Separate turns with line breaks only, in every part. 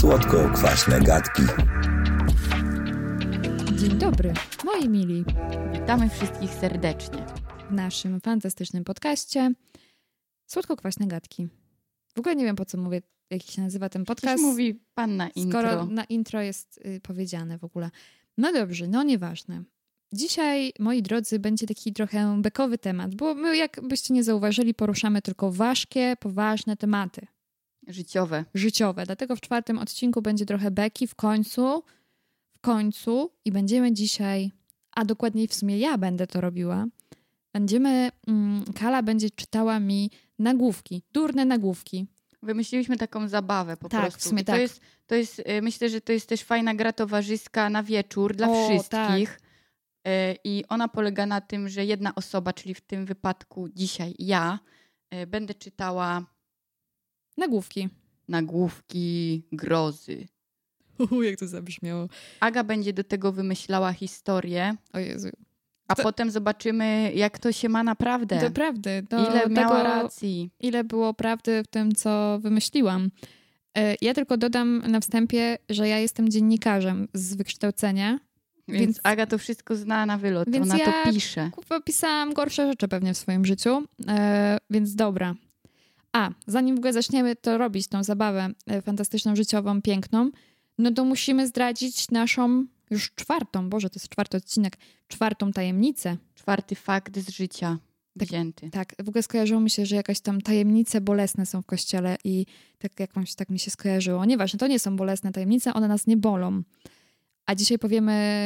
Słodko-kwaśne gadki.
Dzień dobry, moi mili,
Witamy wszystkich serdecznie.
w naszym fantastycznym podcaście Słodko-kwaśne gadki. W ogóle nie wiem, po co mówię, jaki się nazywa ten
Coś
podcast,
mówi pan na intro.
skoro na intro jest y, powiedziane w ogóle. No dobrze, no nieważne. Dzisiaj, moi drodzy, będzie taki trochę bekowy temat, bo my, jakbyście nie zauważyli, poruszamy tylko ważkie, poważne tematy.
Życiowe.
życiowe. Dlatego w czwartym odcinku będzie trochę beki w końcu, w końcu i będziemy dzisiaj, a dokładniej w sumie ja będę to robiła. Będziemy, mm, Kala będzie czytała mi nagłówki, durne nagłówki.
Wymyśliliśmy taką zabawę po
Tak,
prostu.
w sumie
I to
tak.
jest, to jest, y, myślę, że to jest też fajna gra towarzyska na wieczór dla
O, tak.
wszystkich. Y, I ona polega na tym, że jedna osoba, czyli w tym wypadku dzisiaj ja, y, będę czytała
Nagłówki.
nagłówki grozy.
Uhu, jak to zabrzmiało.
Aga będzie do tego wymyślała historię,
O Jezu.
a
To-
potem zobaczymy, jak to się ma naprawdę.
Doprawdy. Do
Ile
tego,
miała racji.
ile było prawdy w tym, co wymyśliłam. E, Ja tylko dodam na wstępie, że ja jestem dziennikarzem z wykształcenia.
Więc,
Więc-
Aga to wszystko zna na wylot.
Więc
Ona
ja-
to pisze.
Kupa, pisałam gorsze rzeczy pewnie w swoim życiu, e, więc dobra. A, zanim w ogóle zaczniemy to robić, tą zabawę e, fantastyczną, życiową, piękną, no to musimy zdradzić naszą już czwartą, Boże, to jest czwarty odcinek, czwartą tajemnicę.
Czwarty fakt z życia
Tak.
wzięty.
Tak, w ogóle skojarzyło mi się, że jakaś tam tajemnice bolesne są w kościele i tak jakąś, tak mi się skojarzyło. Nieważne, to nie są bolesne tajemnice, one nas nie bolą. A dzisiaj powiemy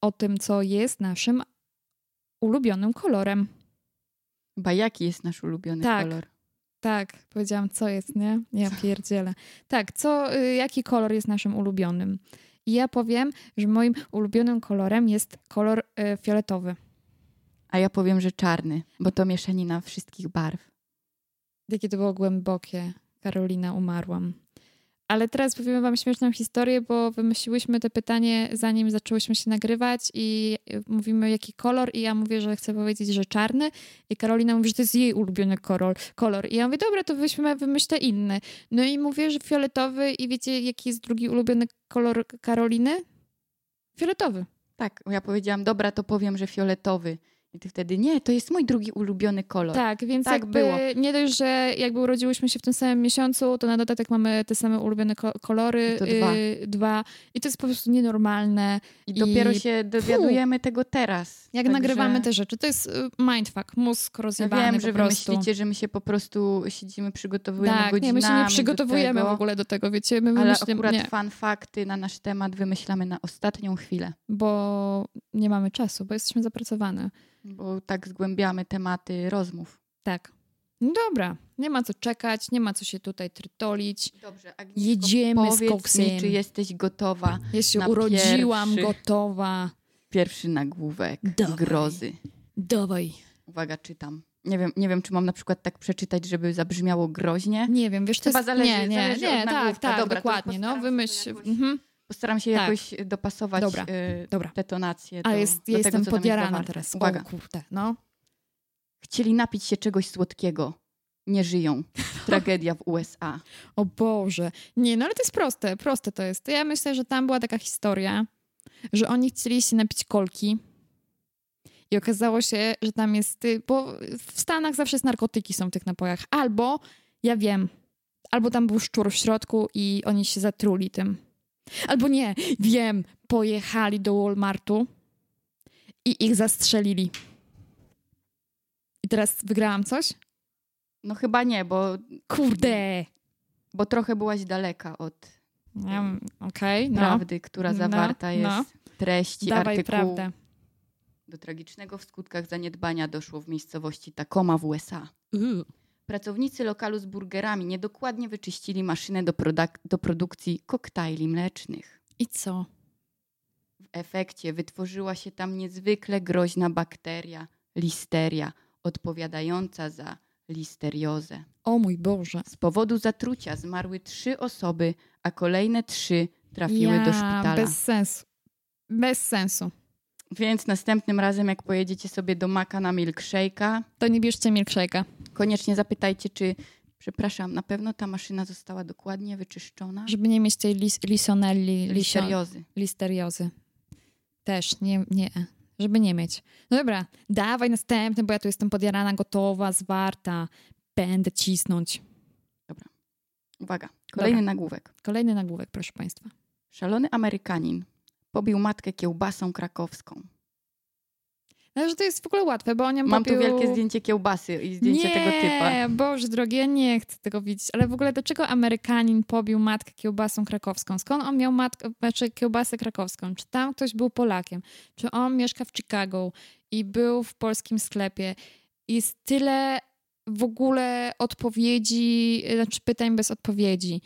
o tym, co jest naszym ulubionym kolorem.
Chyba jaki jest nasz ulubiony
Tak.
kolor?
Tak, powiedziałam, co jest, nie? Ja pierdzielę. Tak, co, y, jaki kolor jest naszym ulubionym? I ja powiem, że moim ulubionym kolorem jest kolor y, fioletowy.
A ja powiem, że czarny, bo to mieszanina wszystkich barw.
Jakie to było głębokie. Karolina, umarłam. Ale teraz powiemy wam śmieszną historię, bo wymyśliłyśmy to pytanie, zanim zaczęłyśmy się nagrywać i y, mówimy, jaki kolor i ja mówię, że chcę powiedzieć, że czarny i Karolina mówi, że to jest jej ulubiony kolor. kolor. I ja mówię, dobra, to weźmy, wymyślę inny. No i mówię, że fioletowy i wiecie, jaki jest drugi ulubiony kolor Karoliny? Fioletowy.
Tak, ja powiedziałam, dobra, to powiem, że fioletowy. I ty wtedy, nie, to jest mój drugi ulubiony kolor.
Tak, więc
Tak
jakby
było.
nie dość, że jakby urodziłyśmy się w tym samym miesiącu, to na dodatek mamy te same ulubione ko- kolory.
I to dwa.
y, dwa. I to jest po prostu nienormalne.
I dopiero
i-
się dowiadujemy tego teraz.
Jak
Także
nagrywamy te rzeczy, to jest y, mindfuck, mózg
Ja
rozjebany
wiem,
po
że wy
prostu.
myślicie, że my się po prostu siedzimy, przygotowujemy
tak,
godzinami
nie, my się nie
do
przygotowujemy
tego,
w ogóle do tego, wiecie, my
Ale
wymyślimy,
akurat
nie,
fan fakty na nasz temat wymyślamy na ostatnią chwilę.
bo nie mamy czasu, bo jesteśmy zapracowane.
Bo tak zgłębiamy tematy rozmów.
Tak. No dobra, nie ma co czekać, nie ma co się tutaj trytolić.
Dobrze, Agnieszko,
Jedziemy z
powiedz mi,
koksem.
czy jesteś gotowa.
Ja się
na
urodziłam,
pierwszy.
gotowa.
Pierwszy nagłówek
Dawaj.
grozy.
Dawaj.
Uwaga, czytam. Nie wiem, nie wiem, czy mam na przykład tak przeczytać, żeby zabrzmiało groźnie.
Nie wiem, wiesz, to
Chyba
jest...
zależy-
nie, nie,
zależy od
nie, tak,
nagłówka.
tak,
Dobra, to
dokładnie, no,
postaram się
wymyśl...
jakoś-
Mhm,
Postaram się
Tak.
jakoś e, dopasować
Dobra.
y,
dobra.
detonację do,
A jest,
do
ja
tego,
jestem
co tam jest
podjarana
zawarte.
teraz.
Uwaga.
O kurde, no.
Chcieli napić się czegoś słodkiego. Nie żyją. Tragedia w USA.
O Boże. Nie, no ale to jest proste, proste to jest. Ja myślę, że tam była taka historia, że oni chcieli się napić kolki i okazało się, że tam jest, y, bo w Stanach zawsze jest narkotyki są w tych napojach. Albo, ja wiem, albo tam był szczur w środku i oni się zatruli tym. Albo nie, wiem, pojechali do Walmartu i ich zastrzelili. I teraz wygrałam coś?
No chyba nie, bo,
Kurde!
bo trochę byłaś daleka od
Ja, Mm, Okej, no.
prawdy, która
No,
zawarta
no.
jest w treści
Dawaj
artykułu.
prawdę.
Do tragicznego w skutkach zaniedbania doszło w miejscowości Tacoma w USA. Pracownicy lokalu z burgerami niedokładnie wyczyścili maszynę do, produk- do produkcji koktajli mlecznych.
I co?
W efekcie wytworzyła się tam niezwykle groźna bakteria, listeria, odpowiadająca za listeriozę.
O mój Boże.
Z powodu zatrucia zmarły trzy osoby, a kolejne trzy trafiły
ja,
do szpitala.
Bez sensu. Bez sensu.
Więc następnym razem, jak pojedziecie sobie do maka na milkshake'a,
To nie bierzcie milkshake'a.
koniecznie zapytajcie, czy Przepraszam, na pewno ta maszyna została dokładnie wyczyszczona.
Żeby nie mieć tej lis, lisonelli, lision,
Seriozy.
listeriozy. Też, nie, nie, żeby nie mieć. No dobra, dawaj następny, bo ja tu jestem podjarana, gotowa, zwarta. Będę cisnąć.
Uwaga, kolejny nagłówek.
Kolejny nagłówek, proszę państwa.
Szalony Amerykanin pobił matkę kiełbasą krakowską.
Ale No, że to jest w ogóle łatwe, bo on ją
Mam
popił...
tu wielkie zdjęcie kiełbasy i zdjęcie
nie,
tego typa.
Boże drogi, ja nie chcę tego widzieć. Ale w ogóle dlaczego Amerykanin pobił matkę kiełbasą krakowską? Skąd on miał matkę, znaczy kiełbasę krakowską? Czy tam ktoś był Polakiem? Czy on mieszka w Chicago i był w polskim sklepie? Jest tyle w ogóle odpowiedzi, znaczy pytań bez odpowiedzi.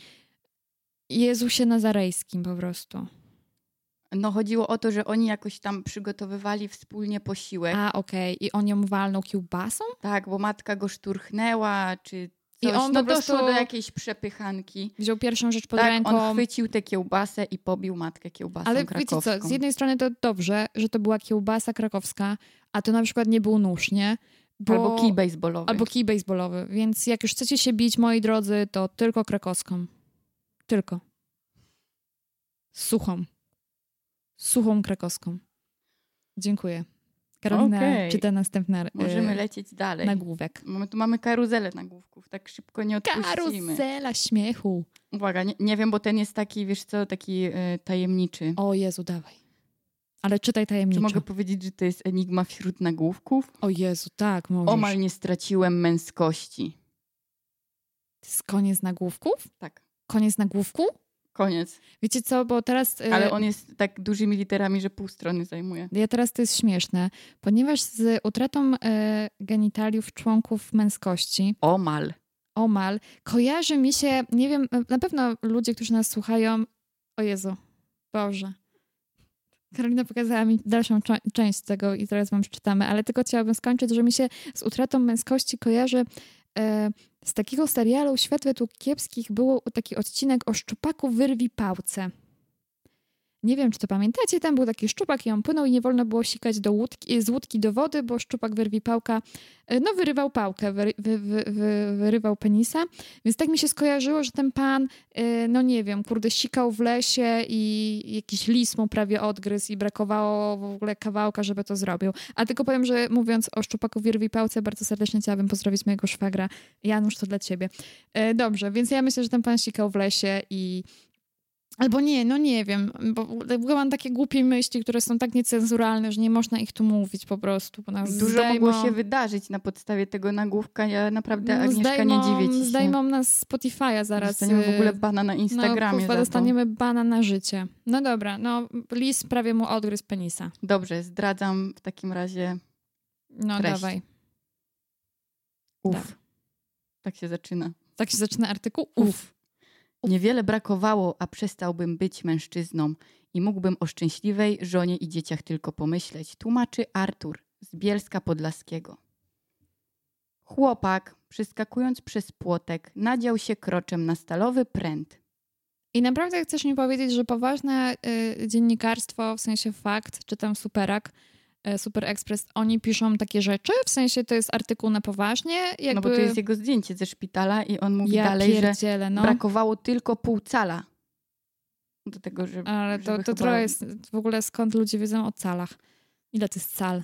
Jezusie Nazarejskim po prostu.
No chodziło o to, że oni jakoś tam przygotowywali wspólnie posiłek.
A, okej. I on ją walnął kiełbasą?
Tak, bo matka go szturchnęła, czy
I
coś.
on
no
po prostu-
doszło do jakiejś przepychanki.
Wziął pierwszą rzecz pod
tak,
ręką.
on chwycił tę kiełbasę i pobił matkę kiełbasą
Ale
krakowską.
wiecie co, z jednej strony to dobrze, że to była kiełbasa krakowska, a to na przykład nie był nóż, nie? Bo...
Albo kij baseballowy.
Albo kij baseballowy. Więc jak już chcecie się bić, moi drodzy, to tylko krakowską. Tylko. Suchą. Suchą krakowską. Dziękuję. Karolina
Okej.
czyta następny e,
Możemy lecieć dalej.
nagłówek.
Mamy, tu mamy karuzelę nagłówków, tak szybko nie odpuścimy.
Karuzela śmiechu.
Uwaga, nie, nie wiem, bo ten jest taki, wiesz co, taki e, tajemniczy.
O Jezu, dawaj. Ale czytaj
Czy
tajemniczo.
mogę powiedzieć, że to jest enigma wśród nagłówków?
O Jezu, tak, możesz.
Omal nie straciłem męskości.
To jest koniec nagłówków?
Tak,
Koniec nagłówku?
koniec.
Wiecie co, bo teraz. y,
Ale on jest tak dużymi literami, że pół strony zajmuje.
Ja teraz to jest śmieszne, ponieważ z utratą y, genitaliów członków męskości,
Omal.
omal, kojarzy mi się, nie wiem, y, na pewno ludzie, którzy nas słuchają, o Jezu, Boże. Karolina pokazała mi dalszą czo- część tego i zaraz wam przeczytamy, ale tylko chciałabym skończyć, że mi się z utratą męskości kojarzy e, z takiego serialu Świat według kiepskich był taki odcinek o szczupaku wyrwi pałce. Nie wiem, czy to pamiętacie, tam był taki szczupak i on płynął i nie wolno było sikać do łódki, z łódki do wody, bo szczupak wyrwi pałka, e, no wyrywał pałkę, wyry, wy, wy, wy, wyrywał penisa, więc tak mi się skojarzyło, że ten pan, e, no nie wiem, kurde, sikał w lesie i jakiś lis mu prawie odgryzł i brakowało w ogóle kawałka, żeby to zrobił. A tylko powiem, że mówiąc o szczupaku wyrwi pałce, bardzo serdecznie chciałabym pozdrowić mojego szwagra, Janusz, to dla ciebie. E, dobrze, więc ja myślę, że ten pan sikał w lesie i. Albo nie, no nie wiem, bo w ogóle mam takie głupie myśli, które są tak niecenzuralne, że nie można ich tu mówić po prostu, bo nas
Dużo
zdejmą,
mogło się wydarzyć na podstawie tego nagłówka. Ja naprawdę,
no,
Tak, Agnieszka,
zdejmą,
nie dziwię ci się.
Zdejmą nas Spotify'a zaraz.
Dostaniemy w ogóle
y,
bana na Instagramie.
No, kurwa,
za to.
dostaniemy bana na życie. No dobra, no lis prawie mu odgryzł penisa.
Dobrze, zdradzam w takim razie
No
Treść.
dawaj.
uf.
Tak.
Tak się zaczyna.
Tak się zaczyna artykuł?
Uf.
Uf.
Niewiele brakowało, a przestałbym być mężczyzną i mógłbym o szczęśliwej żonie i dzieciach tylko pomyśleć, tłumaczy Artur z Bielska Podlaskiego. Chłopak, przeskakując przez płotek, nadział się kroczem na stalowy pręt.
I naprawdę chcesz mi powiedzieć, że poważne y, dziennikarstwo, w sensie fakt, czy tam Superak, y, Super Express, oni piszą takie rzeczy? W sensie to jest artykuł na poważnie? Jakby...
No bo to jest jego zdjęcie ze szpitala i on mówi
ja
dalej, że
pierdzielę, no.
brakowało tylko pół cala. Do tego, że
Ale to,
żeby
to
chyba-
trochę jest w ogóle skąd ludzie wiedzą o calach. Ile to jest cal?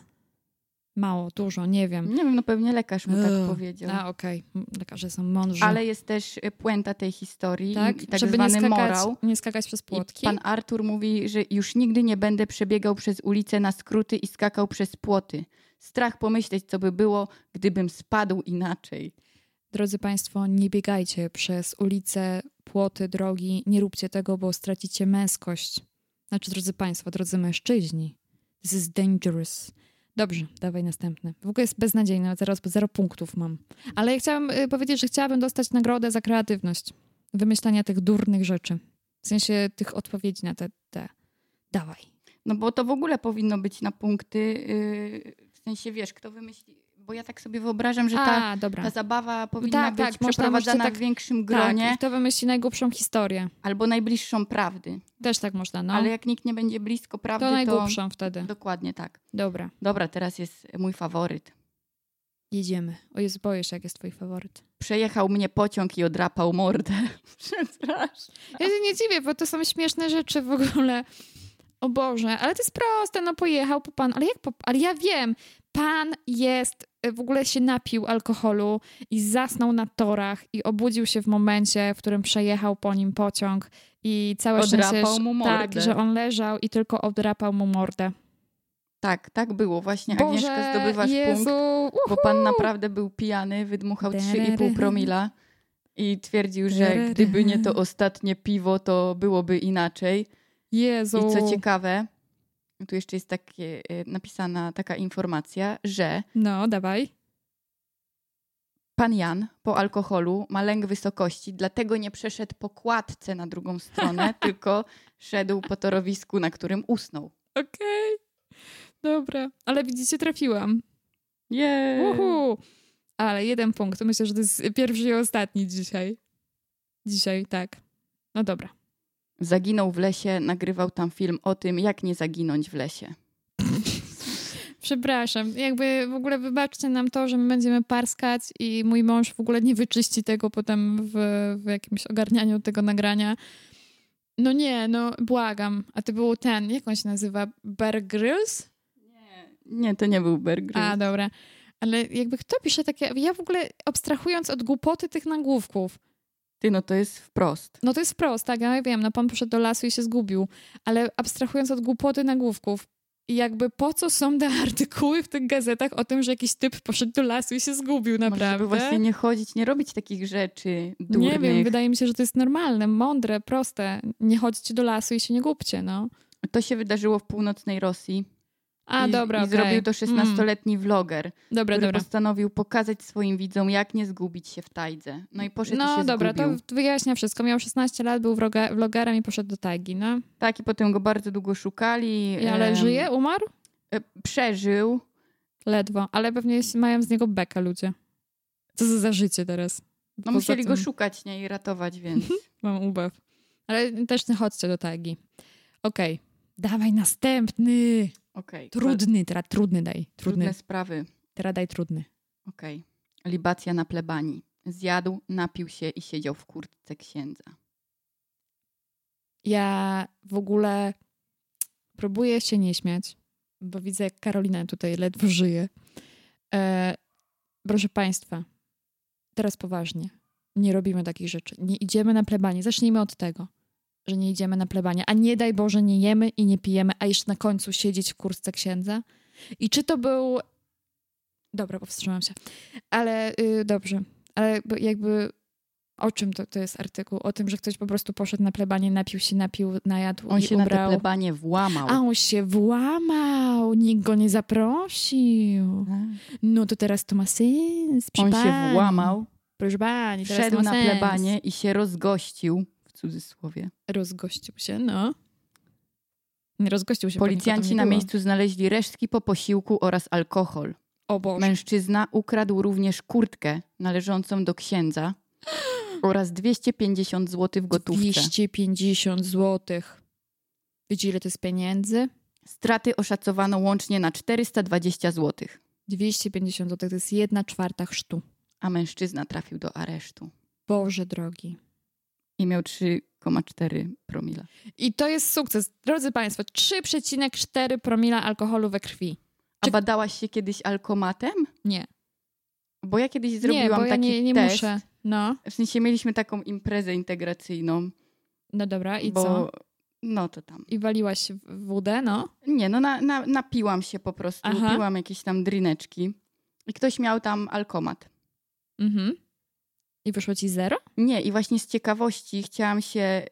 Mało, dużo, nie wiem.
Nie wiem, no pewnie lekarz mu tak
Ugh.
powiedział.
A okej, lekarze są mądrzy.
Ale jest też y, puenta tej historii
tak,
i tak
żeby nie
zwany
skakać,
morał.
nie skakać przez
I
płotki.
pan Artur mówi, że już nigdy nie będę przebiegał przez ulicę na skróty i skakał przez płoty. Strach pomyśleć, co by było, gdybym spadł inaczej.
Drodzy Państwo, nie biegajcie przez ulice, płoty, drogi. Nie róbcie tego, bo stracicie męskość. Znaczy, drodzy Państwo, drodzy mężczyźni. This is dangerous. Dobrze, dawaj następny. W ogóle jest beznadziejny, zaraz zero punktów mam. Ale ja chciałam y, powiedzieć, że chciałabym dostać nagrodę za kreatywność. Wymyślania tych durnych rzeczy. W sensie tych odpowiedzi na te... te. Dawaj.
No bo to w ogóle powinno być na punkty, yy, w sensie wiesz, kto wymyśli, bo ja tak sobie wyobrażam, że tak, ta,
A, dobra.
ta zabawa powinna
tak,
być
tak, można
przeprowadzana
jeszcze tak-
w większym
tak,
gronie
i kto wymyśli najgłupszą historię.
albo najbliższą prawdy.
Też tak można, no.
Ale jak nikt nie będzie blisko prawdy,
to najgłupszą wtedy.
Dokładnie tak.
Dobra.
Dobra, teraz jest mój faworyt.
Jedziemy. O Jezu, boję się, jak jest twój faworyt.
Przejechał mnie pociąg i odrapał mordę. Przestrasznie.
Ja się nie dziwię, bo to są śmieszne rzeczy w ogóle. O Boże, ale to jest proste, no pojechał po pan, ale jak po, ale ja wiem, pan jest, y, w ogóle się napił alkoholu i zasnął na torach i obudził się w momencie, w którym przejechał po nim pociąg i całe szczęście,
Odrapał
że-
mu mordę.
tak, że on leżał i tylko odrapał mu mordę.
Tak, tak było właśnie. Agnieszka,
Boże,
zdobywasz
Jezu,
punkt,
uhu.
bo pan naprawdę był pijany, wydmuchał
Tererem.
3,5 promila i twierdził, że
Tererem.
gdyby nie to ostatnie piwo, to byłoby inaczej.
Jezu.
I co ciekawe, tu jeszcze jest takie, e, napisana taka informacja, że
No, dawaj.
pan Jan po alkoholu ma lęk wysokości, dlatego nie przeszedł po kładce na drugą stronę, tylko szedł po torowisku, na którym usnął.
Okej. Dobra, ale widzicie, trafiłam.
Yeah.
Uhu. Ale jeden punkt. Myślę, że to jest pierwszy i ostatni dzisiaj. Dzisiaj, tak. No dobra.
Zaginął w lesie, nagrywał tam film o tym, jak nie zaginąć w lesie.
Przepraszam. Jakby w ogóle wybaczcie nam to, że my będziemy parskać i mój mąż w ogóle nie wyczyści tego potem w, w jakimś ogarnianiu tego nagrania. No nie, no błagam. A to był ten, jak on się nazywa? Bear Grylls?
Nie, to nie był Bear Grylls.
A, dobra. Ale jakby kto pisze takie... Ja w ogóle abstrahując od głupoty tych nagłówków,
Ty, no to jest wprost.
No to jest wprost, tak, ja wiem, no pan poszedł do lasu i się zgubił, ale abstrahując od głupoty nagłówków, i jakby po co są te artykuły w tych gazetach o tym, że jakiś typ poszedł do lasu i się zgubił
Może żeby
naprawdę?
właśnie nie chodzić, nie robić takich rzeczy durnych.
nie wiem, wydaje mi się, że to jest normalne, mądre, proste. Nie chodźcie do lasu i się nie głupcie, no.
To się wydarzyło w północnej Rosji.
A,
I,
dobra,
I
okej.
zrobił to
Mm.
16-letni vloger,
Dobra,
który
dobra.
postanowił pokazać swoim widzom, jak nie zgubić się w tajdze. No i poszedł i
No
się
dobra,
zgubił.
to wyjaśnia wszystko. Miał 16 lat, był wroga- vlogerem i poszedł do tajgi, no.
Tak, i potem go bardzo długo szukali.
I, ale
em,
żyje? Umarł?
e, Przeżył.
Ledwo, ale pewnie się- mają z niego bekę ludzie. Co za, za życie teraz?
No
Poza
musieli go
tym- Mhm.
szukać, nie? I ratować, więc...
Mam ubaw. Ale też nie chodźcie do tagi. Okej. Dawaj następny.
Okej.
Trudny, teraz trudny daj. Trudny.
Trudne sprawy.
Teraz daj trudny.
Okej. Libacja na plebanii. Zjadł, napił się i siedział w kurtce księdza.
Ja w ogóle próbuję się nie śmiać, bo widzę, jak Karolina tutaj ledwo żyje. E, proszę Państwa, teraz poważnie. Nie robimy takich rzeczy. Nie idziemy na plebanie. Zacznijmy od tego, że nie idziemy na plebanie. A nie daj Boże, nie jemy i nie pijemy, a jeszcze na końcu siedzieć w kurtce księdza. I czy to był. Dobra, powstrzymam się. Ale y, dobrze. Ale bo jakby o czym to, to jest artykuł? O tym, że ktoś po prostu poszedł na plebanie, napił się, napił, najadł
On
i
się na
ubrał.
te plebanie włamał.
A on się włamał, nikt go nie zaprosił. No to teraz to ma sens. proszę
On się
pani.
włamał,
Proszę pani, teraz
wszedł
to ma
na
sens.
plebanie i się rozgościł, w cudzysłowie.
Rozgościł się, no. Nie rozgościł się.
Policjanci
bo nikogo
na
nie było.
miejscu znaleźli resztki po posiłku oraz alkohol.
O Boże.
Mężczyzna ukradł również kurtkę należącą do księdza oraz 250 zł w gotówce.
250 zł. Wiecie, ile to jest pieniędzy?
Straty oszacowano łącznie na 420 zł,
250 zł to jest jedna czwarta chrztu.
a mężczyzna trafił do aresztu
Boże drogi.
i miał 3,4 promila.
I to jest sukces. Drodzy Państwo, 3,4 promila alkoholu we krwi.
A
Czy-
badałaś się kiedyś alkomatem?
Nie.
Bo ja kiedyś zrobiłam
nie, bo
taki
ja nie, nie
test.
muszę. No,
W sensie mieliśmy taką imprezę integracyjną,
no dobra, i
bo
co?
no to tam.
I waliłaś w wódę, no.
Nie, no na, na, napiłam się po prostu,
Aha.
piłam jakieś tam drineczki i ktoś miał tam alkomat.
Mhm. I wyszło ci zero?
Nie, i właśnie z ciekawości chciałam się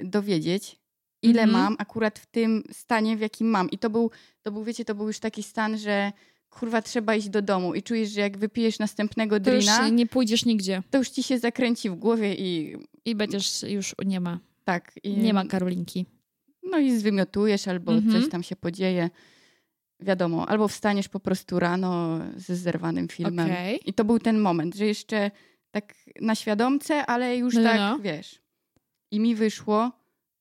yy, dowiedzieć, ile
Mhm.
mam akurat w tym stanie, w jakim mam. I to był, to był, wiecie, to był już taki stan, że kurwa trzeba iść do domu i czujesz, że jak wypijesz następnego
To już
drina, to już,
nie pójdziesz nigdzie.
ci się zakręci w głowie i
I będziesz, już nie ma.
tak. I,
Nie ma Karolinki.
No i zwymiotujesz albo
Mhm.
coś tam się podzieje. Wiadomo, albo wstaniesz po prostu rano ze zerwanym filmem.
Okej.
I to był ten moment, że jeszcze tak na świadomce, ale już
No, no,
tak
no.
wiesz. I mi wyszło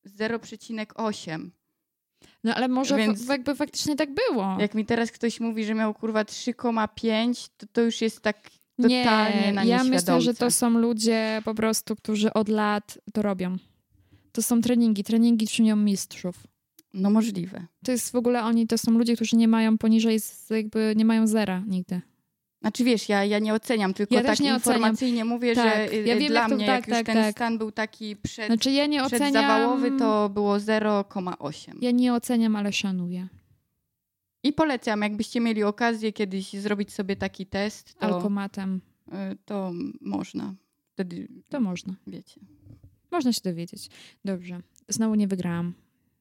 0,8.
No ale może
Więc-
fa- jakby faktycznie tak było.
Jak mi teraz ktoś mówi, że miał kurwa 3,5, to to już jest tak
nie,
totalnie na
ja myślę, że
nieświadomce.
to są ludzie po prostu, którzy od lat to robią. To są treningi. Treningi czynią mistrzów.
no możliwe.
To jest w ogóle oni, to są ludzie, którzy nie mają poniżej, z- jakby nie mają zera nigdy.
Znaczy wiesz, ja, ja nie oceniam, tylko
Ja też
tak
nie oceniam.
informacyjnie mówię, że
Tak.
y,
Ja
y,
wiem,
dla
jak to-
mnie
tak,
jak już
tak,
ten
tak.
stan był taki przed,
Znaczy ja nie oceniam...
przedzawałowy, to było 0,8.
Ja nie oceniam, ale szanuję.
I polecam, jakbyście mieli okazję kiedyś zrobić sobie taki test, to,
Alkomatem.
y, to można. Wtedy
To można.
wiecie.
Można się dowiedzieć. Dobrze. Znowu nie wygrałam.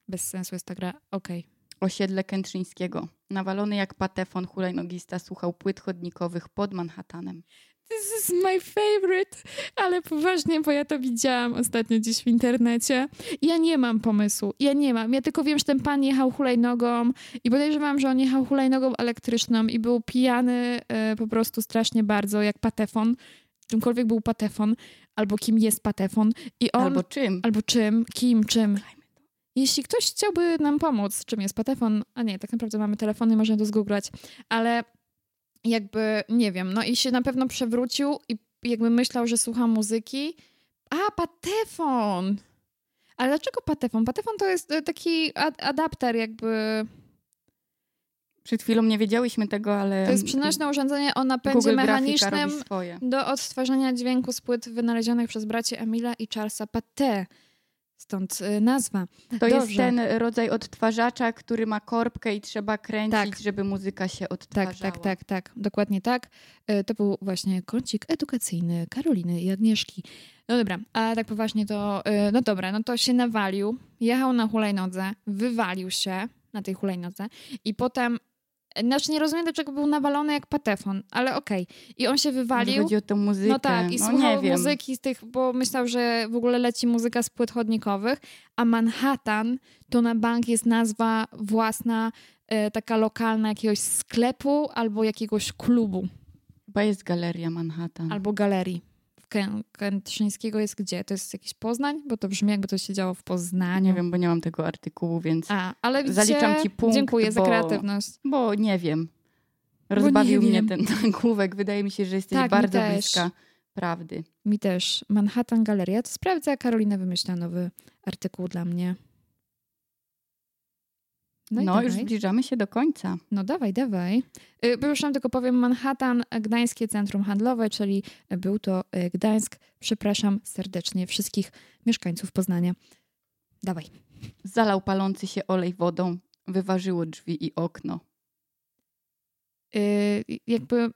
Bez sensu jest ta gra. Okej.
Osiedle Kętrzyńskiego. Nawalony jak patefon hulajnogista słuchał płyt chodnikowych pod Manhattanem.
This is my favorite. Ale poważnie, bo ja to widziałam ostatnio gdzieś w internecie. Ja nie mam pomysłu. Ja nie mam. Ja tylko wiem, że ten pan jechał hulajnogą i podejrzewam, że on jechał hulajnogą elektryczną i był pijany e, po prostu strasznie bardzo, jak patefon. Czymkolwiek był patefon, albo kim jest patefon. I on...
Albo czym?
albo czym, kim, czym.
Dajmy to.
Jeśli ktoś chciałby nam pomóc, czym jest patefon, a nie, tak naprawdę mamy telefony, możemy to zgooglać, ale jakby, nie wiem, no i się na pewno przewrócił i jakby myślał, że słucha muzyki. A, patefon! Ale dlaczego patefon? Patefon to jest e, taki ad- adapter jakby,
Przed chwilą nie wiedziałyśmy tego, ale...
to jest przenośne urządzenie o napędzie
Google grafika
mechanicznym
robi swoje.
do odtwarzania dźwięku z płyt wynalezionych przez braci Emila i Charlesa Paté. Stąd e, nazwa.
To jest
Dobrze.
ten rodzaj odtwarzacza, który ma korbkę i trzeba kręcić,
Tak.
żeby muzyka się odtwarzała.
Tak, tak, tak, tak. Dokładnie tak. E, To był właśnie kącik edukacyjny Karoliny i Agnieszki. No dobra, a tak poważnie to... e, No dobra, no to się nawalił, jechał na hulajnodze, wywalił się na tej hulajnodze i potem... e, Znaczy nie rozumiem, dlaczego był nawalony jak patefon, ale okej. I on się
Może
wywalił.
chodzi o tą muzykę.
No tak, i
no, nie
słuchał
wiem.
muzyki z tych, bo myślał, że w ogóle leci muzyka z płyt chodnikowych, a Manhattan to na bank jest nazwa własna, e, taka lokalna jakiegoś sklepu albo jakiegoś klubu,
Chyba jest galeria Manhattan.
albo galerii. Kę- Kętrzyńskiego jest gdzie? To jest jakiś Poznań? Bo to brzmi jakby to się działo w
A
Poznaniu.
nie wiem, bo nie mam tego artykułu, więc...
A, ale widzicie,
Zaliczam ci punkt,
dziękuję za
bo-
kreatywność.
Bo nie wiem.
nie
Rozbawił
wiem.
mnie ten nagłówek. Wydaje mi się, że jesteś
Tak, mi
bardzo
też.
bliska prawdy.
Mi też. Manhattan Galeria. To sprawdzę, a Karolina wymyśla nowy artykuł dla mnie.
No,
i
już
dawaj.
zbliżamy się do końca.
No dawaj, dawaj. Y, bo Już nam tylko powiem, Manhattan, Gdańskie Centrum Handlowe, czyli był to y, Gdańsk. Przepraszam serdecznie wszystkich mieszkańców Poznania. Dawaj.
Zalał palący się olej wodą. Wyważyło drzwi i okno.
Y, jakby...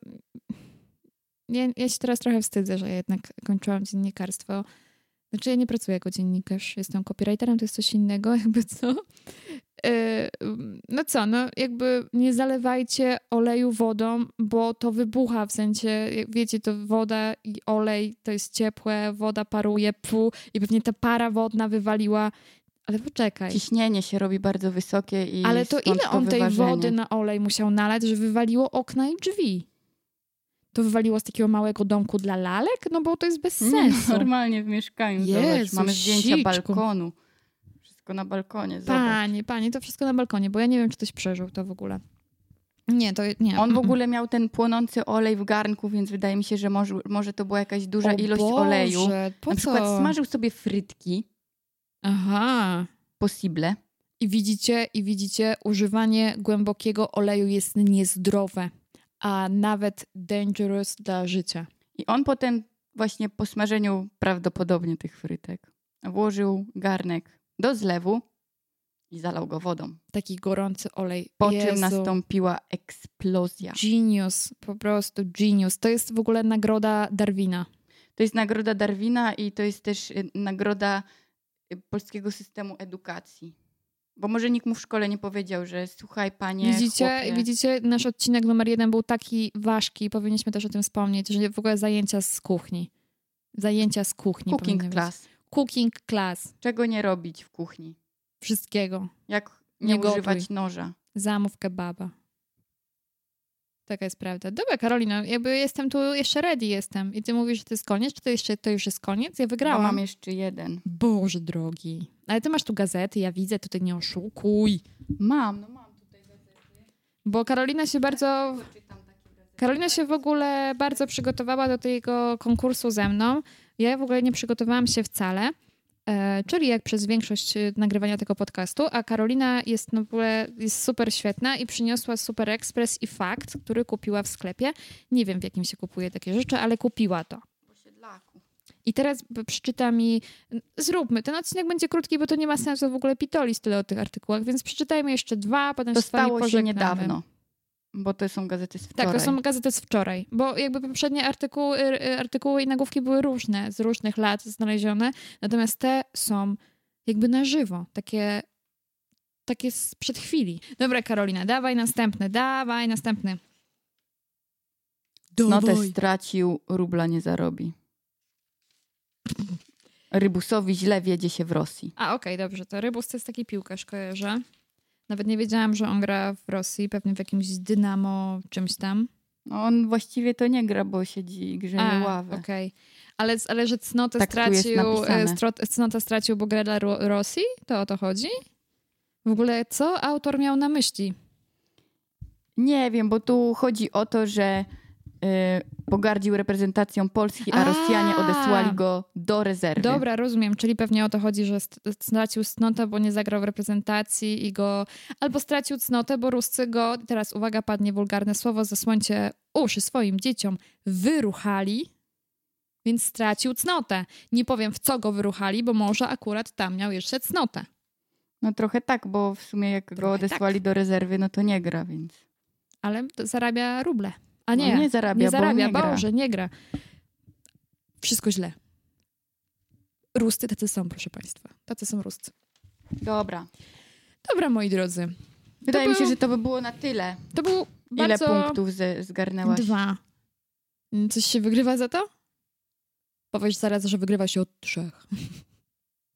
Ja, ja się teraz trochę wstydzę, że ja jednak kończyłam dziennikarstwo. Znaczy ja nie pracuję jako dziennikarz, jestem copywriterem, to jest coś innego, jakby co. Y, No co, no jakby nie zalewajcie oleju wodą, bo to wybucha, w sensie, jak wiecie, to woda i olej, to jest ciepłe, woda paruje, pu i pewnie ta para wodna wywaliła. Ale poczekaj.
Ciśnienie się robi bardzo wysokie i
Ale to
stąd
ile on tej
wyważenie.
wody na olej musiał nalać, że wywaliło okna i drzwi? To wywaliło z takiego małego domku dla lalek? No bo to jest bez
Nie,
sensu.
Normalnie w mieszkaniu. Zobacz,
Jezu,
mamy zdjęcia
siczku.
balkonu. Wszystko na balkonie. Zobacz.
Panie, panie, to wszystko na balkonie, bo ja nie wiem, czy ktoś przeżył to w ogóle. Nie, to nie.
On w ogóle miał ten płonący olej w garnku, więc wydaje mi się, że może, może to była jakaś duża
O
ilość
Boże,
oleju.
Po
na przykład
co?
smażył sobie frytki
Aha.
posible.
I widzicie, i widzicie, używanie głębokiego oleju jest niezdrowe, a nawet dangerous dla życia.
I on potem właśnie po smażeniu prawdopodobnie tych frytek włożył garnek do zlewu i zalał go wodą.
Taki gorący olej.
Po czym
Jezu.
nastąpiła eksplozja.
Genius, po prostu genius. To jest w ogóle nagroda Darwina.
To jest nagroda Darwina i to jest też y, nagroda y, polskiego systemu edukacji. Bo może nikt mu w szkole nie powiedział, że słuchaj panie,
widzicie,
chłopie,
widzicie, nasz odcinek numer jeden był taki ważki, powinniśmy też o tym wspomnieć, że w ogóle zajęcia z kuchni. Zajęcia z kuchni.
cooking
powinny być.
class.
Cooking class.
Czego nie robić w kuchni?
Wszystkiego.
Jak nie,
Nie
używać noża?
Zamów kebaba. Taka jest prawda. Dobra, Karolina, jakby jestem tu, jeszcze ready jestem. I ty mówisz, że to jest koniec, czy to, jeszcze, to już jest koniec? Ja
Bo
wygrałam.
mam jeszcze jeden.
Boże drogi. Ale ty masz tu gazety, ja widzę, tutaj nie oszukuj.
Mam, no mam.
Bo Karolina się bardzo...
Czytam takie gazety.
Karolina się w ogóle bardzo przygotowała do tego konkursu ze mną. Ja w ogóle nie przygotowałam się wcale, e, czyli jak przez większość e, nagrywania tego podcastu, a Karolina jest no, w ogóle jest super świetna i przyniosła Super Express i Fakt, który kupiła w sklepie. Nie wiem, w jakim się kupuje takie rzeczy, ale kupiła to.
Posiedlaku.
I teraz b- przeczyta mi, zróbmy, ten odcinek będzie krótki, bo to nie ma sensu w ogóle pitolić tyle o tych artykułach, więc przeczytajmy jeszcze dwa, potem
To
z wami
stało się
pożegnamy.
niedawno. Bo to są gazety z wczoraj.
Tak, to są gazety z wczoraj, bo jakby poprzednie artykuły, y, artykuły i nagłówki były różne, z różnych lat znalezione, natomiast te są jakby na żywo, takie, takie sprzed chwili. Dobra, Karolina, dawaj następny, dawaj następny. No,
Cnotę No stracił, rubla nie zarobi. Rybusowi źle wiedzie się w Rosji.
A, okej, dobrze, to Rybus to jest taki piłkarz, kojarzę. Nawet nie wiedziałam, że on gra w Rosji, pewnie w jakimś Dynamo, czymś tam.
No on właściwie to nie gra, bo siedzi i grzeje
A,
ławę.
Okej. Ale, ale że cnotę
Tak tu jest
stracił, e,
napisane.
stro- cnota stracił, bo gra dla Ro- Rosji? To o to chodzi? W ogóle co autor miał na myśli?
Nie wiem, bo tu chodzi o to, że y, pogardził reprezentacją Polski, a,
A.
Rosjanie odesłali go do rezerwy.
Dobra, rozumiem, czyli pewnie o to chodzi, że st- stracił cnotę, bo nie zagrał w reprezentacji i go... Albo stracił cnotę, bo Ruscy go, teraz uwaga, padnie wulgarne słowo, zasłońcie uszy swoim dzieciom, wyruchali, więc stracił cnotę. Nie powiem, w co go wyruchali, bo może akurat tam miał jeszcze cnotę.
No trochę tak, bo w sumie jak go
Trochę tak.
odesłali do rezerwy, no to nie gra, więc.
ale to zarabia ruble. A
No
nie,
nie zarabia,
nie
bo
zarabia
nie gra.
Boże, nie gra. Wszystko źle. Rusty tacy są, proszę Państwa. Tacy są Ruscy.
Dobra.
Dobra, moi drodzy.
Wydaje mi się,
był-
że to by było na tyle.
To był
Ile
bardzo...
punktów ze- zgarnęłaś?
Dwa. Mm, Coś się wygrywa za to? Powiesz zaraz, że wygrywa się od trzech.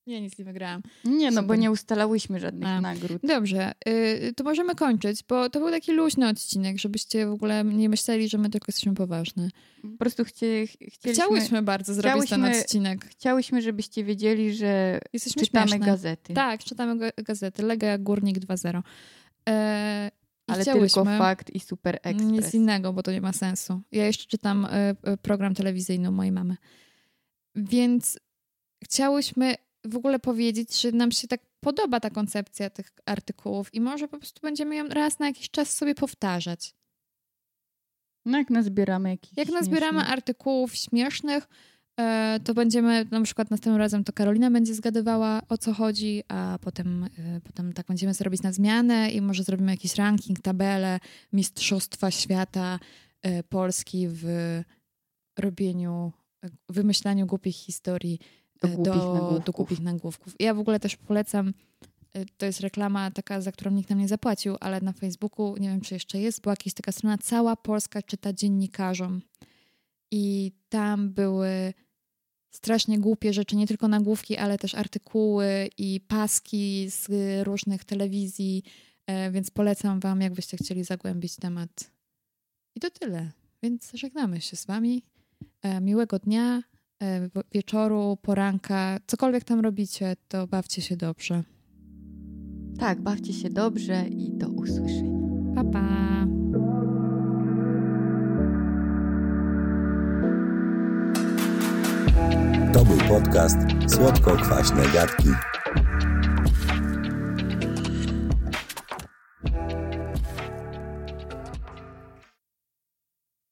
Nie, nic nie wygrałam.
Nie, no bo
Super. Tak.
nie ustalałyśmy żadnych
A.
nagród.
Dobrze, y, to możemy kończyć, bo to był taki luźny odcinek, żebyście w ogóle nie myśleli, że my tylko jesteśmy poważne.
Po prostu chcie, ch- chcieliśmy, chciałyśmy.
Chciałyśmy bardzo zrobić ten
chciałyśmy-
odcinek.
chciałyśmy, żebyście wiedzieli, że
Jesteśmy
czytamy
śmieszne.
gazety.
Tak, czytamy ga- gazety. Lega Górnik 2.0. E, i
ale
chciałyśmy
tylko fakt i super ekspres.
Nic innego, bo to nie ma sensu. Ja jeszcze czytam e, e, program telewizyjny u mojej mamy. Więc chciałyśmy w ogóle powiedzieć, że nam się tak podoba ta koncepcja tych artykułów i może po prostu będziemy ją raz na jakiś czas sobie powtarzać.
No jak nazbieramy jakiś
Jak nazbieramy artykułów śmiesznych, e, to będziemy, na przykład następnym razem to Karolina będzie zgadywała o co chodzi, a potem, e, potem tak będziemy zrobić na zmianę i może zrobimy jakiś ranking, tabelę Mistrzostwa Świata e, Polski w robieniu, wymyślaniu głupich historii
Do
e,
głupich nagłówków.
do głupich nagłówków. Ja w ogóle też polecam, e, to jest reklama taka, za którą nikt nam nie zapłacił, ale na Facebooku, nie wiem czy jeszcze jest, była jakaś taka strona, cała Polska czyta dziennikarzom. I tam były strasznie głupie rzeczy, nie tylko nagłówki, ale też artykuły i paski z y, różnych telewizji, e, więc polecam wam, jakbyście chcieli zagłębić temat. I to tyle, więc żegnamy się z wami. E, Miłego dnia, e, wo- wieczoru, poranka, cokolwiek tam robicie, to bawcie się dobrze.
Tak, bawcie się dobrze i do usłyszenia.
Pa, pa!
To był podcast Słodko-Kwaśne Gadki